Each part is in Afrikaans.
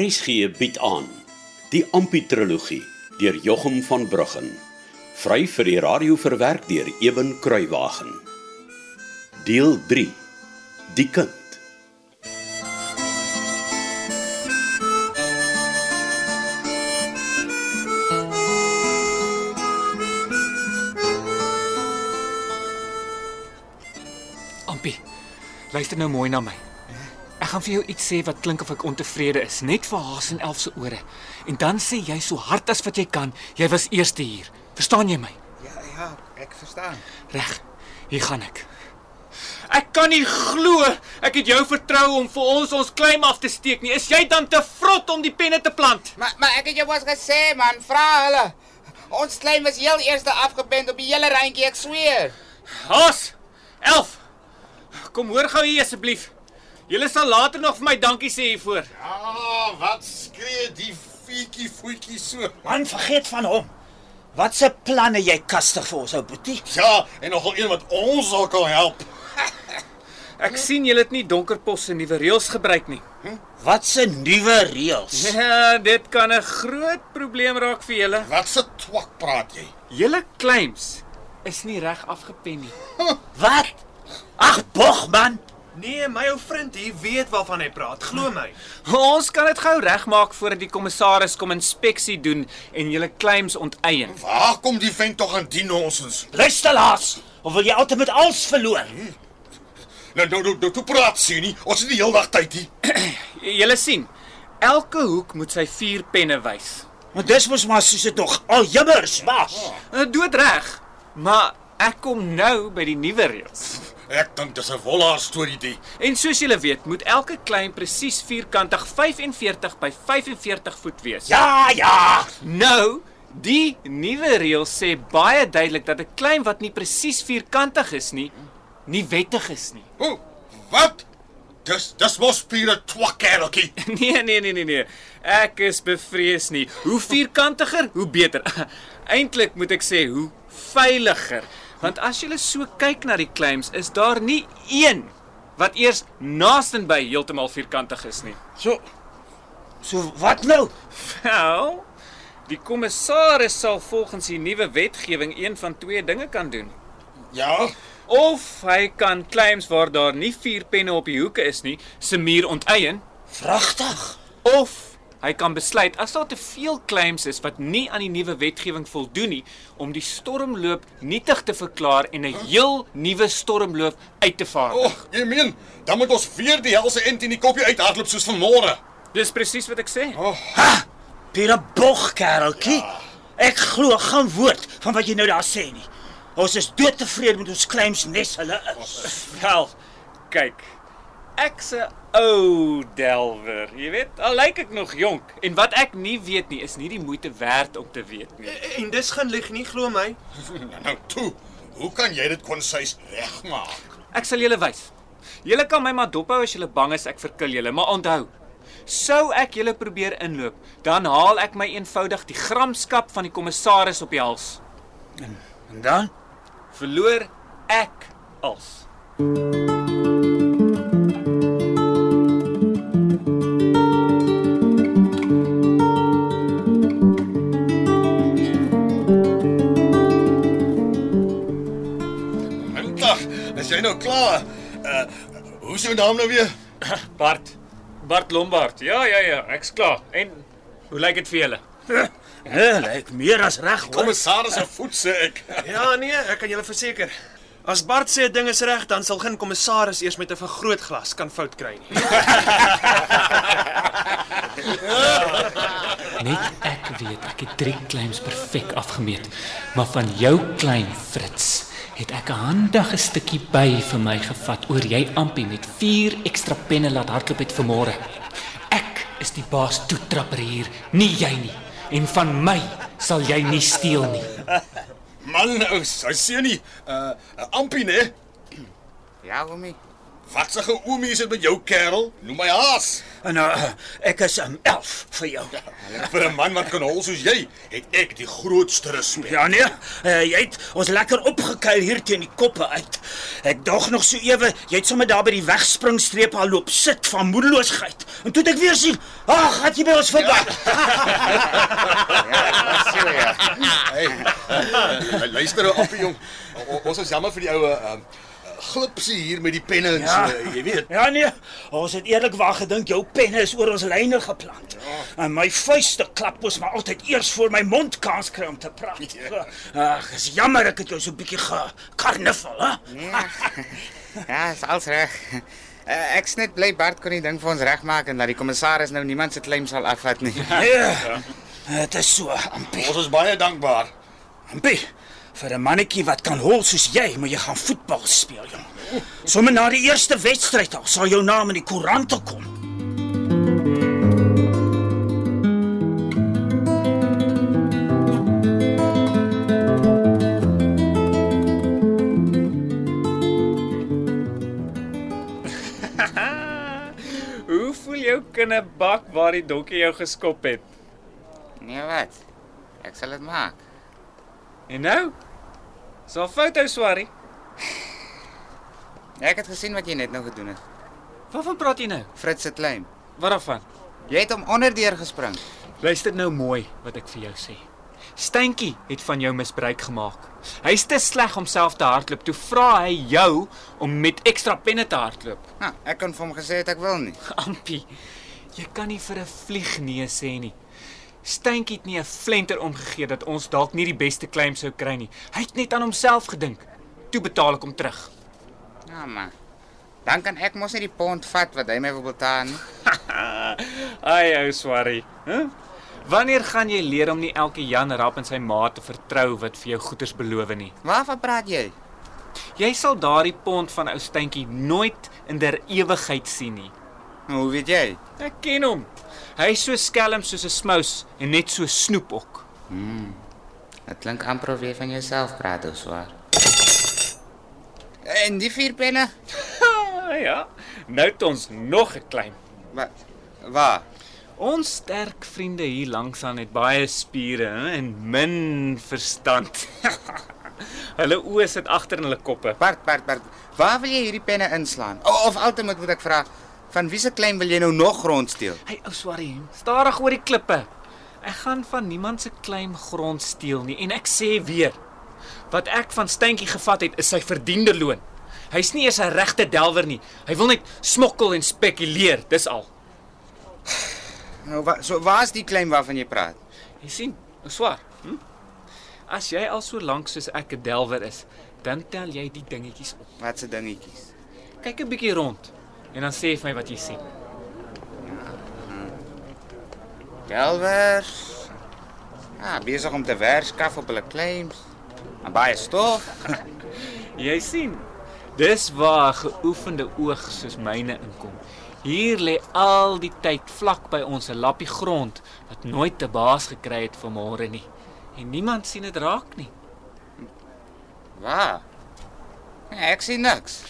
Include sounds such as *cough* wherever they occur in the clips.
RSG bied aan die Amputrologie deur Jochum van Bruggen vry vir die radio verwerk deur Eben Kruiwagen deel 3 die kind Ampie, luister nou mooi na my. Ek gaan vir jou iets sê wat klink of ek ontevrede is, net vir Haas en Elf se ore. En dan sê jy so hard as wat jy kan, jy was eerste hier. Verstaan jy my? Ja, ja, ek verstaan. Reg. Hier gaan ek. Ek kan nie glo ek het jou vertrou om vir ons ons claim af te steek nie. Is jy dan te vrot om die penne te plant? Maar maar ek het jou mos gesê man, vra hulle. Ons klein was heel eerste afgebend op die hele randjie, ek sweer. Haas, Elf. Kom hoor gou hier asseblief. Julle sal later nog vir my dankie sê hiervoor. Ah, wat skree die fietjie voetjie so? Man vergeet van hom. Wat se planne jy kastig vir ons ou boetie? Ja, en nogal een wat ons ook al help. Ek sien julle het nie donker pos en nuwe reëls gebruik nie. Hm? Wat se nuwe reëls? Ja, dit kan 'n groot probleem raak vir julle. Wat se twak praat jy? Julle claims is nie reg afgepen nie. *laughs* Wat? Ag, bog man. Nee, my ou vriend hier weet waarvan hy praat, glo my. Ons kan dit gou regmaak voordat die kommissaris kom inspeksie doen en julle claims onteien. Waar kom die vent tog aan die nonsens? Luister laas. Of wil jy altyd met alles verloor? Nou nou nou, nou toe praat sien nie. Ons het die hele dag tyd hier. Julle sien, elke hoek moet sy vier penne wys. Want dis mos maar soos dit nog Ah. al jimmers was. Eh, Doodreg. Maar ek kom nou by die nuwe reëls. Ek dink dis 'n wollaar storie die. En soos julle weet, moet elke claim presies vierkantig 45 by 45 voet wees. Ja, ja. Nou, die nuwe reël sê baie duidelik dat 'n claim wat nie presies vierkantig is nie, nie wettig is nie. O, wat? Dis dis mos pure twakkereltjie. *laughs* Nee, nee, nee, nee, nee. Ek is bevrees nie. Hoe vierkantiger, hoe beter. *laughs* Eintlik moet ek sê hoe veiliger, want as jy so kyk na die claims, is daar nie een wat eers naastenby heeltemal vierkantig is nie. So So wat nou? Wel, die kommissaris sal volgens die nuwe wetgewing een van twee dinge kan doen. Ja, Of hy kan claims waar daar nie vier penne op die hoeke is nie, se muur onteien, Pragtig. of hy kan besluit as daar te veel claims is wat nie aan die nuwe wetgewing voldoen nie, om die stormloop nietig te verklaar en 'n heel nuwe stormloop uit te vaar. o, jy meen, dan moet ons weer die helse ent in die kopie uithardloop soos vanmôre. Dis presies wat ek sê. Pure bog kereltjie. Ek glo geen woord van wat jy nou daar sê nie. Ons is doodtevrede met ons claims nes hulle is. Wel, kyk. Ek's 'n ou delwer, jy weet. Al lyk ek nog jonk en wat ek nie weet nie, is nie die moeite werd om te weet nie. En dis geen lieg nie, glo my. Nou, nou toe. Hoe kan jy dit konsis regmaak? Ek sal julle wys. Julle kan my maar dophou as julle bang is ek verkil julle, maar onthou, sou ek julle probeer inloop, dan haal ek my eenvoudig die gramskap van die kommissaris op die hals. En dan? Verloor ek als. Middag. Is jy nou klaar? Uh hoe is jou naam nou weer? Bart, Bart Lombard. Ja, ja, ja, ek's klaar. En hoe lyk dit vir julle? Ja, lyk meer as reg. hoor. Kommissaris se voet sê ek. Ja, nee, ek kan julle verseker. As Bart sê 'n ding is reg, dan sal geen kommissaris eers met 'n vergrootglas kan fout kry nie. Net ek weet ek het drie claims perfek afgemeet, maar van jou klein Frits het ek 'n handige stukkie by vir my gevat oor jy ampie met vier ekstra penne laat hardloop het vanmôre. Ek is die baas toetrapper hier, nie jy nie. En van my sal jy nie steel nie. Man, ou, hy sien nie. Uh ampie nê? Ja, homie. Wat se geoomie is dit met jou, kerel? Noem my haas. En eh, uh, ek is ehm, 'n um, elf vir jou. Ja. Vir 'n man wat kan hol soos jy, het ek die grootste respek. Ja nee, uh, jy het ons lekker opgekuil hier teen die koppe uit. Ek dog nog so ewe, jy het sommer daar by die wegspringstreep al loop sit van moedeloosheid. En toe het ek weer sien, ag, het jy by ons verby. ja. Hey. Lu- Luister nou af, jong. O- Ons is jammer vir die oue ehm glipsie hier met die penne en *laughs* Ja. so, jy weet. Ja nee, ons het eerlikwaar gedink jou penne is oor ons lyne geplant. Ja. En my vuiste klap mos maar altyd eers voor my mond kans kry om te praat. Ja. So, Ag, is jammer ek het jou so 'n bietjie gekarnival, hè? *laughs* Ja. *laughs* Ja, is alles reg. Uh, ek snit bly Bart kon die ding vir ons regmaak en laat die kommissaris nou niemand se claim sal afvat *laughs* nie. Ja. Dit is so, Ampie. Ons is baie dankbaar. Ampie. Vir 'n mannetjie wat kan hol soos jy, moet jy gaan voetbal speel, jong. Sommige na die eerste wedstryd al sal jou naam in die koerante kom. Hoe voel jou kinnebak waar die dokkie jou geskop het? Nee, wat? Ek sal dit maak. En nou? Is al foto swarrie. Ek het gesien wat jy net nou gedoen het. Waarvan praat jy nou? Frits se claim. Wat daarvan? Jy het hom onderdeur gespring. Luister nou mooi wat ek vir jou sê. Steentjie het van jou misbruik gemaak. Hy's te sleg om self te hardloop. Toe vra hy jou om met ekstra penne te hardloop. *laughs* Nou, ek kon vir hom gesê het ek wil nie. Ampie, jy kan nie vir 'n vlieg nee sê nie. Steentjie het nie 'n flenter omgegee dat ons dalk nie die beste claim sou kry nie. Hy het net aan homself gedink. Toe betaal ek hom terug. Ja, maar dan kan ek mos nie die pond vat wat hy my wil betaal nie. Ai ou swarrie, hè? Wanneer gaan jy leer om nie elke Jan rap en sy ma te vertrou wat vir jou goeders beloof nie? Waarvan praat jy? Jy sal daardie pond van ou steentjie nooit in der ewigheid sien nie. Nou, hoe weet jy? Ek ken hom. Hy is so skelm soos 'n smous en net so snoep ook. Dit klink amper of jy van jouself praat, ou swaar. Eh, En die vier penne? Ah, ja, nou het ons nog 'n klein. Wa waar? Ons sterk vriende hier langs aan het baie spiere hè, en min verstand. *laughs* hulle oë sit agter in hulle koppe. Bart, Bart, Bart. Waar wil jy hierdie penne inslaan? O, of altyd moet ek vra, van wie se claim wil jy nou nog grond steel? Hey ou Swarrie, stadig oor die klippe. Ek gaan van niemand se claim grond steel nie en ek sê weer, wat ek van Steentjie gevat het is sy verdiende loon. Hy's nie eers 'n regte delwer nie. Hy wil net smokkel en spekuleer, dis al. Nou, wa so waar's die claim waarvan jy praat? Jy sien, ou Swar. Hm? As jy al so lank soos ek 'n delwer is, dan tel jy die dingetjies op. Wat se dingetjies? Kyk 'n bietjie rond en dan sê vir my wat jy sien. Delwers. Ah, besig om te werkskaf op hulle claims. En baie stof. Jy sien, dis waar 'n geoefende oog soos myne inkom. Hier lê al die tyd vlak by ons 'n lappie grond wat nooit te baas gekry het vanmôre nie. En niemand sien dit raak nie. Waar? Nee, ek sien niks.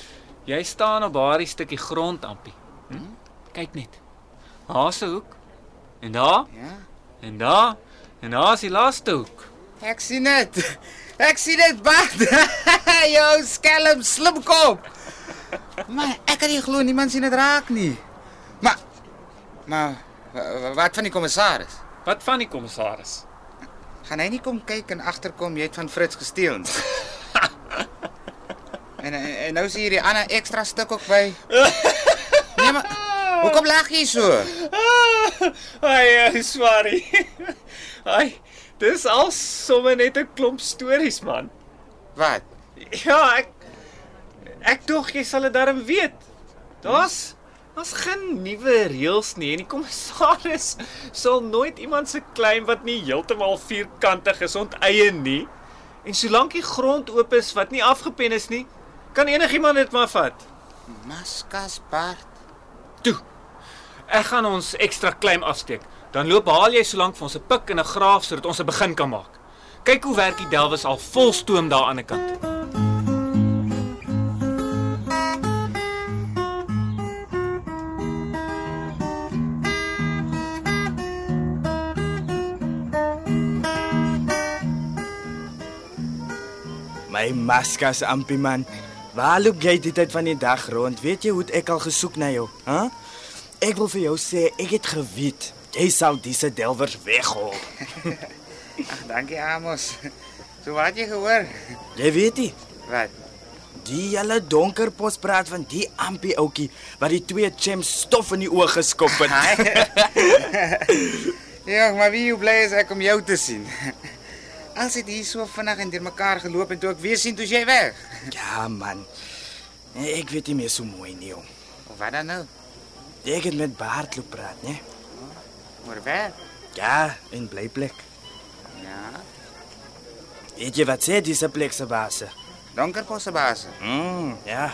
Jy staan op daardie stukkie grond, Ampie. Hm? Kyk net. Daar's 'n hoek. En daar, Ja. en daar, en daar's die laaste hoek. Ek sien dit. Ek sien dit *laughs* wat. Jou skelm slimkop. Maar ek kan nie glo niemand sien dit raak nie. Maar maar wa- wa- wat van die kommissaris? Wat van die kommissaris? Gaan hy nie kom kyk en agterkom jy het van Fritz gesteel nie? *laughs* en, en en nou sien hierdie ander ekstra stuk ook by. Nee, maar hoekom lag jy so? *laughs* Ai, ai, sorry. *laughs* Ai, dis al sommer net 'n klomp stories, man. Wat? Ja, ek ek dog jy sal dit darm weet. Daar's daar's geen nuwe reëls nie en die kommissaris sal nooit iemand se claim wat nie heeltemal vierkantig is onteien nie. En solank die grond oop is wat nie afgepen is nie, kan enigiemand dit maar vat. Maskas Bart. Ek gaan ons ekstra claim afsteek. Dan loop haal jy solank vir ons 'n pik en 'n graaf sodat ons 'n begin kan maak. Kyk hoe werk die Delwes al vol stoom daar aan die ander kant. My maskas ampie man. Waar loop jy die tyd van die dag rond? Weet jy hoe het ek al gesoek na jou, hè? Huh? Ek wil vir jou sê, ek het geweet jy sal disse delwers weghol. Ach, dankie Amos. Zo wat je gehoor. Jy weet nie, Wat? die hele donker pos praat van die ampie ouetjie wat die twee champs stof in die oë geskop het. *laughs* Ja, maar wie hoe blij is ek om jou te *laughs* zien. Als het hier zo vannacht in elkaar gelopen en toen ik weer zien, toen jij weg. Ja man. Nee, Ek weet nie meer so mooi nie. Jong. Of wat dan nou? Ek het met Baartloop praat, né? Maar weg? Ja, in blyplek. Ja. Weet jy wat sê disse plek se baas? Donkerposse bazen. Mm, ja.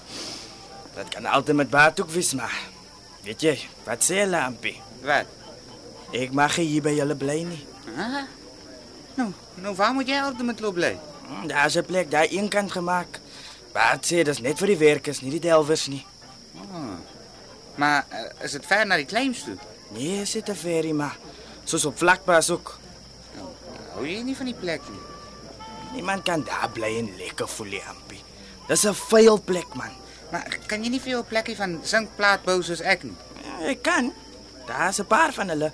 *laughs* Dat kan altyd met baat ook wees, maar weet jy, wat sê hulle ampie? Wat? Ek mag hier by julle bly nie. Huh? Nou, nou waar moet jij altijd met loop blij? Mm, Daar's 'n plek daar een kant gemaak. Baat sê dis net vir die werkers, nie die delwers nie. Maar eh, is het ver naar die claims toe? Nee, is dit 'n ferry maar soos op vlakbaas ook. Hou je niet van die plek nie? Niemand kan daar bly en lekker voel nie, ampie. Dis 'n vuil plek, man. Maar kan je niet veel plekken van zinkplaat bouwen zoals ik niet? Ja, Ek kan. Daar's 'n paar van hulle.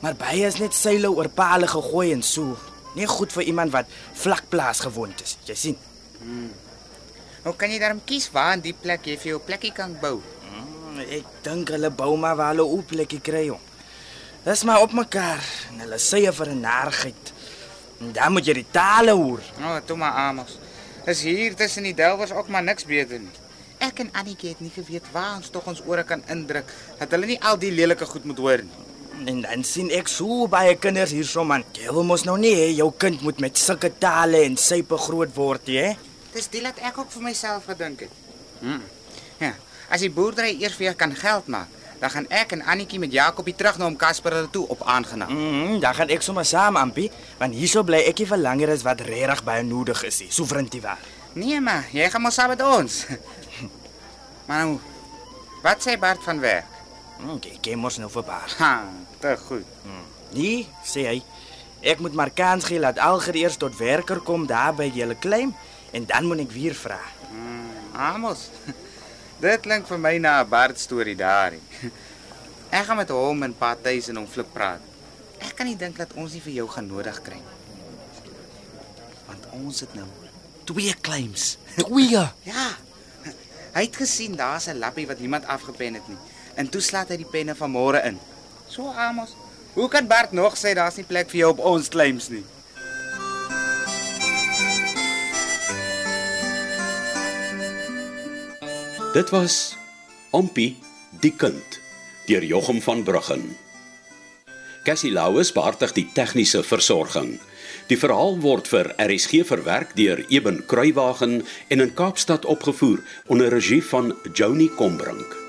Maar baie is net seile oor pale gegooi en so. Nie goed vir iemand wat vlakplaas gewoond is. Jy sien. Hoe Nou, kan je daarom kiezen waar in die plek je veel plekken kan bouwen? Mm, Ek dink hulle bou maar waar hulle op plekkie kry jong. Dis maar op mekaar en hulle sye vir 'n narigheid. En dan moet jy die tale hoor. Oh, toe maar Amos. Is hier tussen die delwers ook maar niks beter nie. Ek en Annetjie het nie geweet waar ons tog ons ore kan indruk dat hulle nie al die lelike goed moet hoor nie. En dan sien ek so baie kinders hierso man. Jy wil mos nou nie hê jou kind moet met sulke tale en sype groot word nie, hè? Dis dit wat ek ook vir myself gedink het. Hm. Ja, as die boerdery eers weer kan geld maak, dan gaan ek en Annetjie met Jakobie terug na hom Casper hulle toe op aangenaam. Mm, dan gaan ek sommer saam ampie, want hierso bly ek nie vir langer as wat regtig baie nodig is nie. Soevereiniteit waar. Nee maar, jy gaan mos saam met ons. maar nou, wat sê Bart van werk? Mm, ek ken mos nou verbaas. Ha, te goed. Nee, sê hy. Ek moet maar kans gee dat Alger eers tot werker kom daar by julle claim en dan moet ek weer vra. Amos. *laughs* Dit klink vir my na 'n Bart storie daarin. Ek gaan met hom en Patys en hom flip praat. Ek kan nie dink dat ons nie vir jou gaan nodig kry nie. Want ons het nou Twee claims. *laughs* Twee. ja. Hy het gesien daar's 'n lappie wat niemand afgepen het nie. En toe slaat hy die penne van môre in. So Amos, hoe kan Bart nog sê daar's nie plek vir jou op ons claims nie? Dit was Ompie die kind deur Jochum van Bruggen. Cassie Lauers behartig die tegniese versorging. Die verhaal word vir RSG verwerk deur Eben Kruiwagen en in Kaapstad opgevoer onder regie van Joni Combrink.